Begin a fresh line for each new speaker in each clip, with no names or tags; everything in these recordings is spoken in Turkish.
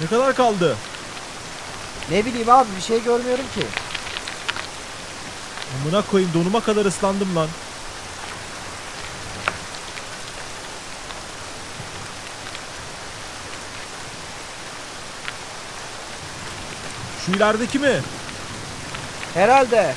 Ne kadar kaldı?
Ne bileyim abi bir şey görmüyorum ki.
Amına koyayım donuma kadar ıslandım lan. Şu ilerideki mi?
Herhalde.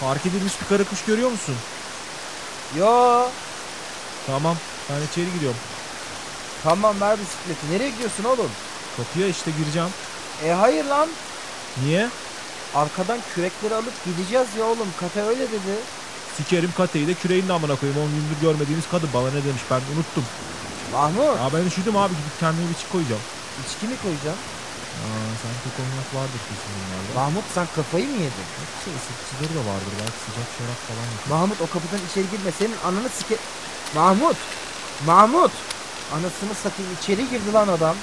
Fark edilmiş bir kara kuş görüyor musun?
Yo.
Tamam. Ben içeri giriyorum.
Tamam ver bisikleti. Nereye gidiyorsun oğlum?
Kapıya işte gireceğim.
E hayır lan.
Niye?
Arkadan kürekleri alıp gideceğiz ya oğlum. Kate öyle dedi.
Sikerim kateyi de küreğin de amına koyayım. 10 gündür görmediğimiz kadın bana ne demiş ben unuttum.
Mahmut
Aa ben üşüdüm abi gidip kendime bir çik koyacağım.
içki mi koyacaksın?
Aa sanki konyak vardır kesin bunlarda.
Mahmut sen kafayı mı yedin?
Yoksa ısıtıcıları da vardır belki sıcak şarap falan yapar.
Mahmut o kapıdan içeri girme. Senin ananı sike... Mahmut! Mahmut! Anasını satayım içeri girdi lan adam.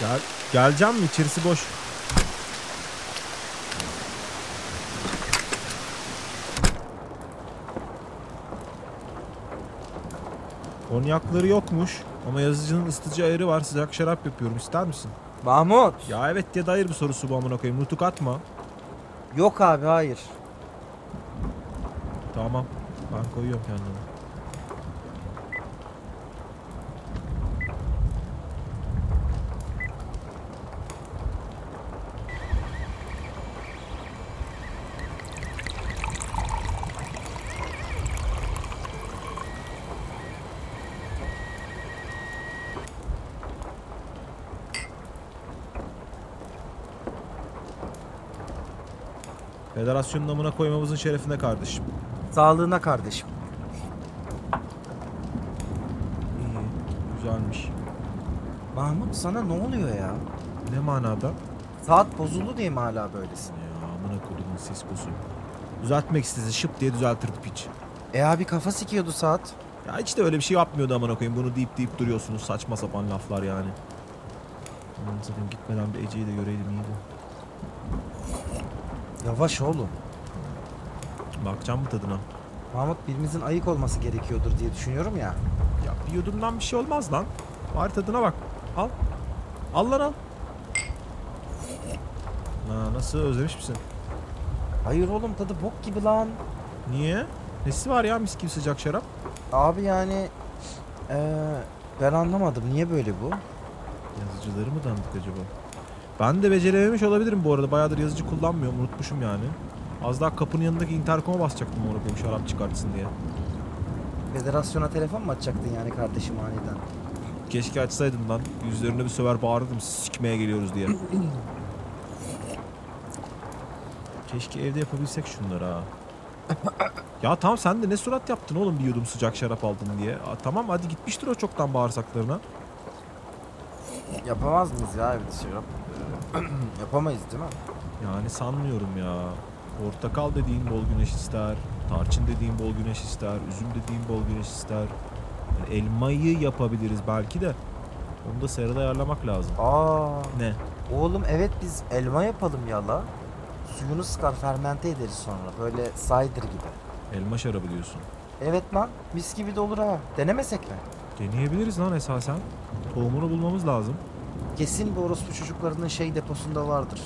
Gel, geleceğim mi? İçerisi boş. Konyakları yokmuş ama yazıcının ısıtıcı ayarı var sıcak şarap yapıyorum ister misin?
Mahmut!
Ya evet ya da hayır bu sorusu bu amına koyayım nutuk atma.
Yok abi hayır.
Tamam ben koyuyorum kendime. Federasyonun amına koymamızın şerefine kardeşim.
Sağlığına kardeşim.
İyi, güzelmiş.
Mahmut sana ne oluyor ya?
Ne manada?
Saat bozuldu diye mi hala böylesin?
Ya amına kodumun siskosu. Düzeltmek istese şıp diye düzeltirdi piç.
E abi kafa sikiyordu saat.
Ya hiç de öyle bir şey yapmıyordu amına koyayım. Bunu deyip deyip duruyorsunuz saçma sapan laflar yani. Aman zaten gitmeden bir Ece'yi de göreydim iyi bu.
Yavaş oğlum.
Bakacağım mı tadına?
Mahmut birimizin ayık olması gerekiyordur diye düşünüyorum ya.
Ya bir yudumdan bir şey olmaz lan. Bari tadına bak. Al. Al lan al. Ha, nasıl özlemiş misin?
Hayır oğlum tadı bok gibi lan.
Niye? Nesi var ya mis gibi sıcak şarap?
Abi yani eee, ben anlamadım niye böyle bu?
Yazıcıları mı dandık acaba? Ben de becerememiş olabilirim bu arada. Bayağıdır yazıcı kullanmıyorum. Unutmuşum yani. Az daha kapının yanındaki interkoma basacaktım onu koyayım şarap çıkartsın diye.
Federasyona telefon mu atacaktın yani kardeşim aniden?
Keşke açsaydım lan. Yüzlerine bir söver bağırırdım sikmeye geliyoruz diye. Keşke evde yapabilsek şunları ha. ya tamam sen de ne surat yaptın oğlum bir yudum sıcak şarap aldın diye. Aa, tamam hadi gitmiştir o çoktan bağırsaklarına.
Yapamaz mıyız ya evde şey yap? Yapamayız değil mi?
Yani sanmıyorum ya. Portakal dediğin bol güneş ister, tarçın dediğin bol güneş ister, üzüm dediğin bol güneş ister. Yani elmayı yapabiliriz belki de. Onu da serada ayarlamak lazım.
Aa,
Ne?
oğlum evet biz elma yapalım yala. Suyunu sıkar fermente ederiz sonra böyle cider gibi.
Elma şarabı diyorsun.
Evet lan mis gibi de olur ha. Denemesek mi?
Deneyebiliriz lan esasen. Tohumunu bulmamız lazım.
Kesin bu orospu çocuklarının şey deposunda vardır.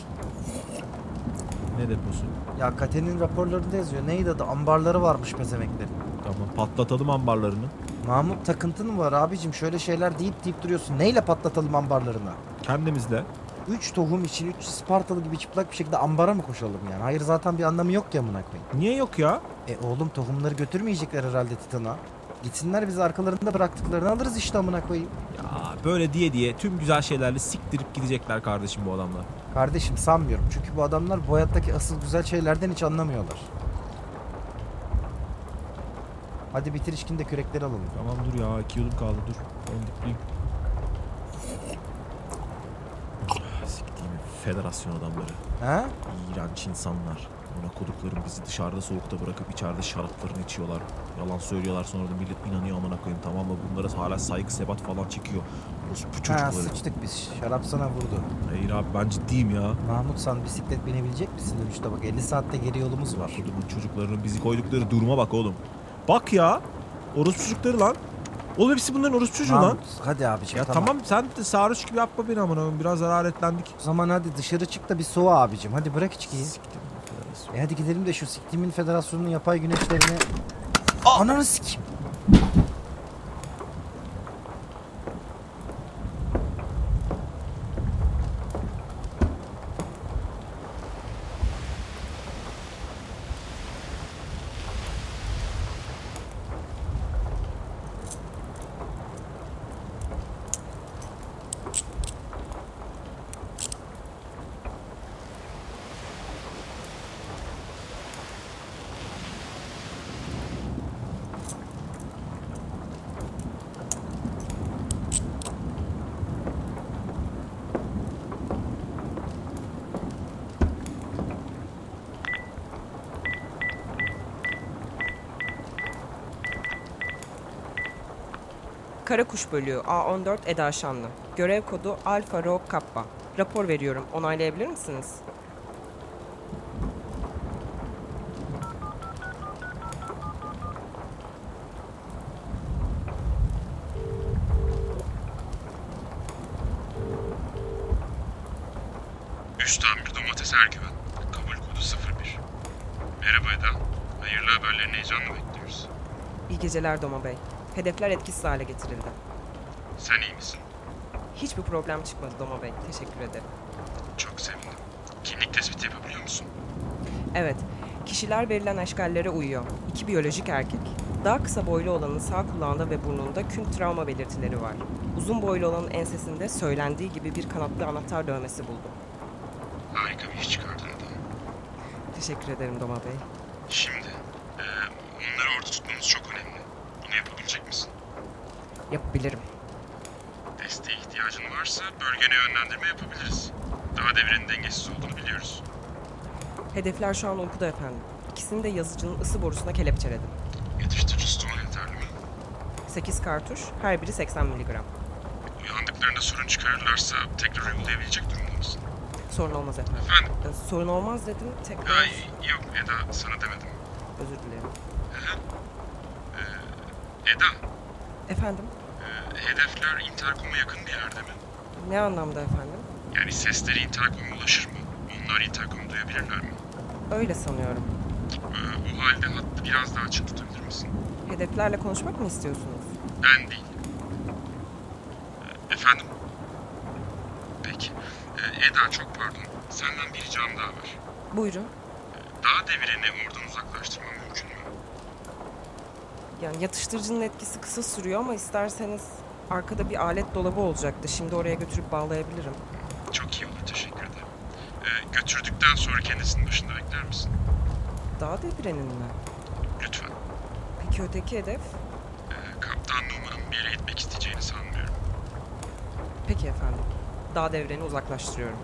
Ne deposu?
Ya Kate'nin raporlarında yazıyor. Neydi adı? Ambarları varmış pezemeklerin.
Tamam patlatalım ambarlarını.
Mahmut takıntın mı var abicim? Şöyle şeyler deyip deyip duruyorsun. Neyle patlatalım ambarlarını?
Kendimizle.
Üç tohum için üç Spartalı gibi çıplak bir şekilde ambara mı koşalım yani? Hayır zaten bir anlamı yok ya amına koyayım.
Niye yok ya?
E oğlum tohumları götürmeyecekler herhalde Titan'a. Gitsinler biz arkalarında bıraktıklarını alırız işte amına koyayım.
Ya böyle diye diye tüm güzel şeylerle siktirip gidecekler kardeşim bu adamlar.
Kardeşim sanmıyorum. Çünkü bu adamlar bu hayattaki asıl güzel şeylerden hiç anlamıyorlar. Hadi bitir içkin de kürekleri alalım.
Tamam dur ya iki yudum kaldı dur. Ben dipliyim. Siktiğimi Ah, federasyon adamları.
He?
İğrenç insanlar. Ona koduklarım bizi dışarıda soğukta bırakıp içeride şaraplarını içiyorlar. Yalan söylüyorlar sonra da millet inanıyor amına koyayım tamam mı? Bunlara hala saygı sebat falan çekiyor. Bu
Ha,
çocukları.
sıçtık biz. Şarap sana vurdu.
Hayır abi ben ciddiyim ya.
Mahmut sen bisiklet binebilecek misin dönüşte? Bak 50 saatte geri yolumuz var.
Kodumun çocuklarının bizi koydukları duruma bak oğlum. Bak ya. Orospu çocukları lan. Oğlum hepsi bunların orospu çocuğu lan.
Mahmut hadi abiciğim
Ya tamam. sen de sarhoş gibi yapma beni amına koyayım. Biraz hararetlendik.
O zaman hadi dışarı çık da bir soğu abicim. Hadi bırak içkiyi.
Siktir bu federasyon.
E hadi gidelim de şu siktimin federasyonunun yapay güneşlerine...
Ah!
Ananı sikeyim.
Karakuş Bölüğü A14 Eda Şanlı. Görev kodu Alfa Rho Kappa. Rapor veriyorum. Onaylayabilir misiniz?
Üç tamir domates erkeven. Kabul kodu 01. Merhaba Eda. Hayırlı haberlerini heyecanla bekliyoruz.
İyi geceler Doma Bey. Hedefler etkisiz hale getirildi.
Sen iyi misin?
Hiçbir problem çıkmadı Doma Bey. Teşekkür ederim.
Çok sevindim. Kimlik tespiti yapabiliyor musun?
Evet, kişiler verilen eşkallere uyuyor. İki biyolojik erkek. Daha kısa boylu olanın sağ kulağında ve burnunda küm travma belirtileri var. Uzun boylu olanın ensesinde söylendiği gibi bir kanatlı anahtar dövmesi buldum.
Harika bir iş çıkardın Eda.
Teşekkür ederim Doma Bey.
Şimdi, eee, onları orada tutmamız çok önemli. Bunu yapabilecek misin?
Yapabilirim.
Desteğe ihtiyacın varsa bölgene yönlendirme yapabiliriz. Daha devrenin dengesiz olduğunu biliyoruz.
Hedefler şu an uykuda efendim. İkisini de yazıcının ısı borusuna kelepçeledim.
Yatıştırıcı stoğun yeterli mi?
8 kartuş, her biri 80 mg.
Uyandıklarında sorun çıkarırlarsa tekrar uygulayabilecek durumda mısın?
Sorun olmaz efendim.
Efendim?
Ee, Sorun olmaz dedim, tekrar
Ay, yok Eda, sana demedim.
özür dilerim.
Eda,
Efendim,
Hedefler interkoma yakın bir yerde mi?
ne anlamda efendim?
Yani sesleri interkoma ulaşır mı? Onlar interkomu duyabilirler mi?
Öyle sanıyorum.
Ee, o halde hattı biraz daha açık tutabilir misin?
Hedeflerle konuşmak mı istiyorsunuz?
Ben değil. Ee, efendim? Peki. Ee, Eda çok pardon. Senden bir ricam daha var.
Buyurun.
Daha devireni oradan uzaklaştırmam mümkün mü?
Yani yatıştırıcının etkisi kısa sürüyor ama isterseniz arkada bir alet dolabı olacaktı. Şimdi oraya götürüp bağlayabilirim.
Çok iyi olur, teşekkür ederim. Ee, götürdükten sonra kendisinin başında bekler misin?
Daha devirenin mi?
Lütfen.
Peki öteki hedef?
Ee, kaptan Numan'ın bir yere gitmek isteyeceğini sanmıyorum.
Peki efendim. Dağ devreni uzaklaştırıyorum.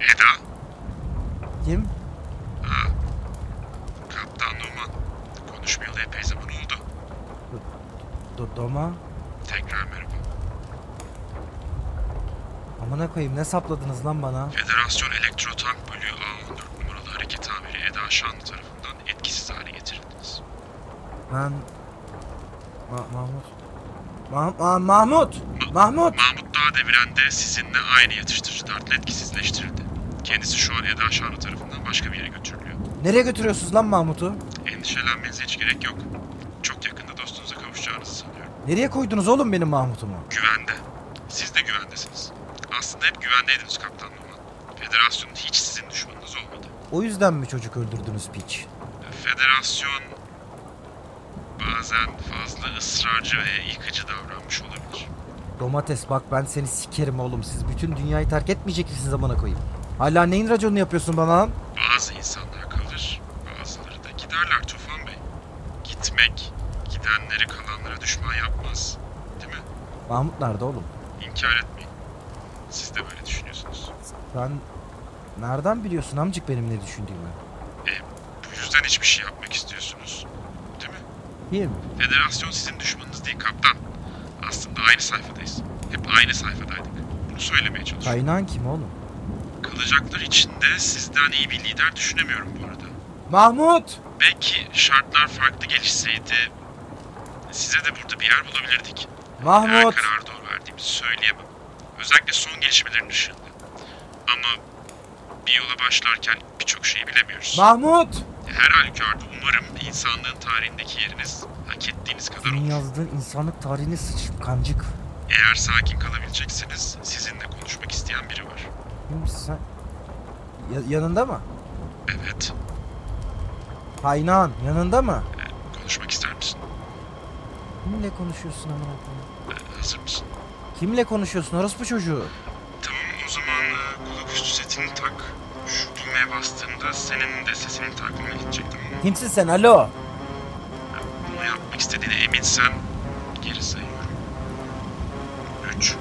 Eda?
Kim?
Ha, Kaptan Numan. Konuşmayalı epey zaman oldu.
Do- Doma.
Tekrar merhaba.
Amına koyayım ne sapladınız lan bana?
Federasyon Elektrotank Bölüğü A14 numaralı hareket amiri Eda Şanlı tarafından etkisiz hale getirildiniz.
Ben... Ma- Mahmut. Ma- Ma- Mahmut! Mahmut!
Mahmut Dağ deviren de sizinle aynı yatıştırıcı dartla etkisizleştirildi. Kendisi şu an Eda Şanlı tarafından başka bir yere götürülüyor.
Nereye götürüyorsunuz lan Mahmut'u?
Endişelenmenize hiç gerek yok. Çok yakında dostunuza kavuşacağınızı sanıyorum.
Nereye koydunuz oğlum benim Mahmut'umu?
Güvende. Siz de güvendesiniz. Aslında hep güvendeydiniz Kaptan Numan. Federasyon hiç sizin düşmanınız olmadı.
O yüzden mi çocuk öldürdünüz piç?
Federasyon bazen fazla ısrarcı ve yıkıcı davranmış olabilir.
Domates bak ben seni sikerim oğlum. Siz bütün dünyayı terk etmeyecek misiniz amına koyayım? Hala neyin raconunu yapıyorsun bana lan?
Bazı insanlar kalır, bazıları da giderler Tufan Bey. Gitmek, gidenleri kalanlara düşman yapmaz. Değil mi?
Mahmut nerede oğlum?
İnkar etmeyin. Siz de böyle düşünüyorsunuz.
Ben nereden biliyorsun amcık benim ne düşündüğümü?
Bu yüzden hiçbir şey yapmak istiyorsunuz. Değil mi?
Değil mi?
Federasyon sizin düşmanınız değil kaptan. Aslında aynı sayfadayız. Hep aynı sayfadaydık. Bunu söylemeye çalışıyorum.
Kaynağın kim oğlum?
Kalacaklar için de sizden iyi bir lider düşünemiyorum bu arada.
Mahmut!
Belki şartlar farklı gelişseydi size de burada bir yer bulabilirdik. Her
Mahmut!
kararı doğru verdiğimizi söyleyemem. Özellikle son gelişmelerin ışığında. Ama bir yola başlarken birçok şeyi bilemiyoruz.
Mahmut!
Her halükarda umarım insanlığın tarihindeki yeriniz hak ettiğiniz kadar
Senin
olur.
yazdığın insanlık tarihine sıçtım kancık.
Eğer sakin kalabilecekseniz sizinle konuşmak isteyen biri var.
Kimsin sen? Ya- yanında mı?
Evet,
Kaynağın yanında mı?
konuşmak ister misin?
Kimle konuşuyorsun amına koyayım?
Ee, Hazır mısın?
Kimle konuşuyorsun orospu çocuğu?
Tamam o zaman e, kulaküstü setini tak. Şu düğmeye bastığımda senin de sesini takmaya gidecektim ama
Kimsin sen alo?
bunu yapmak istediğine eminsen geri sayıyorum. 3,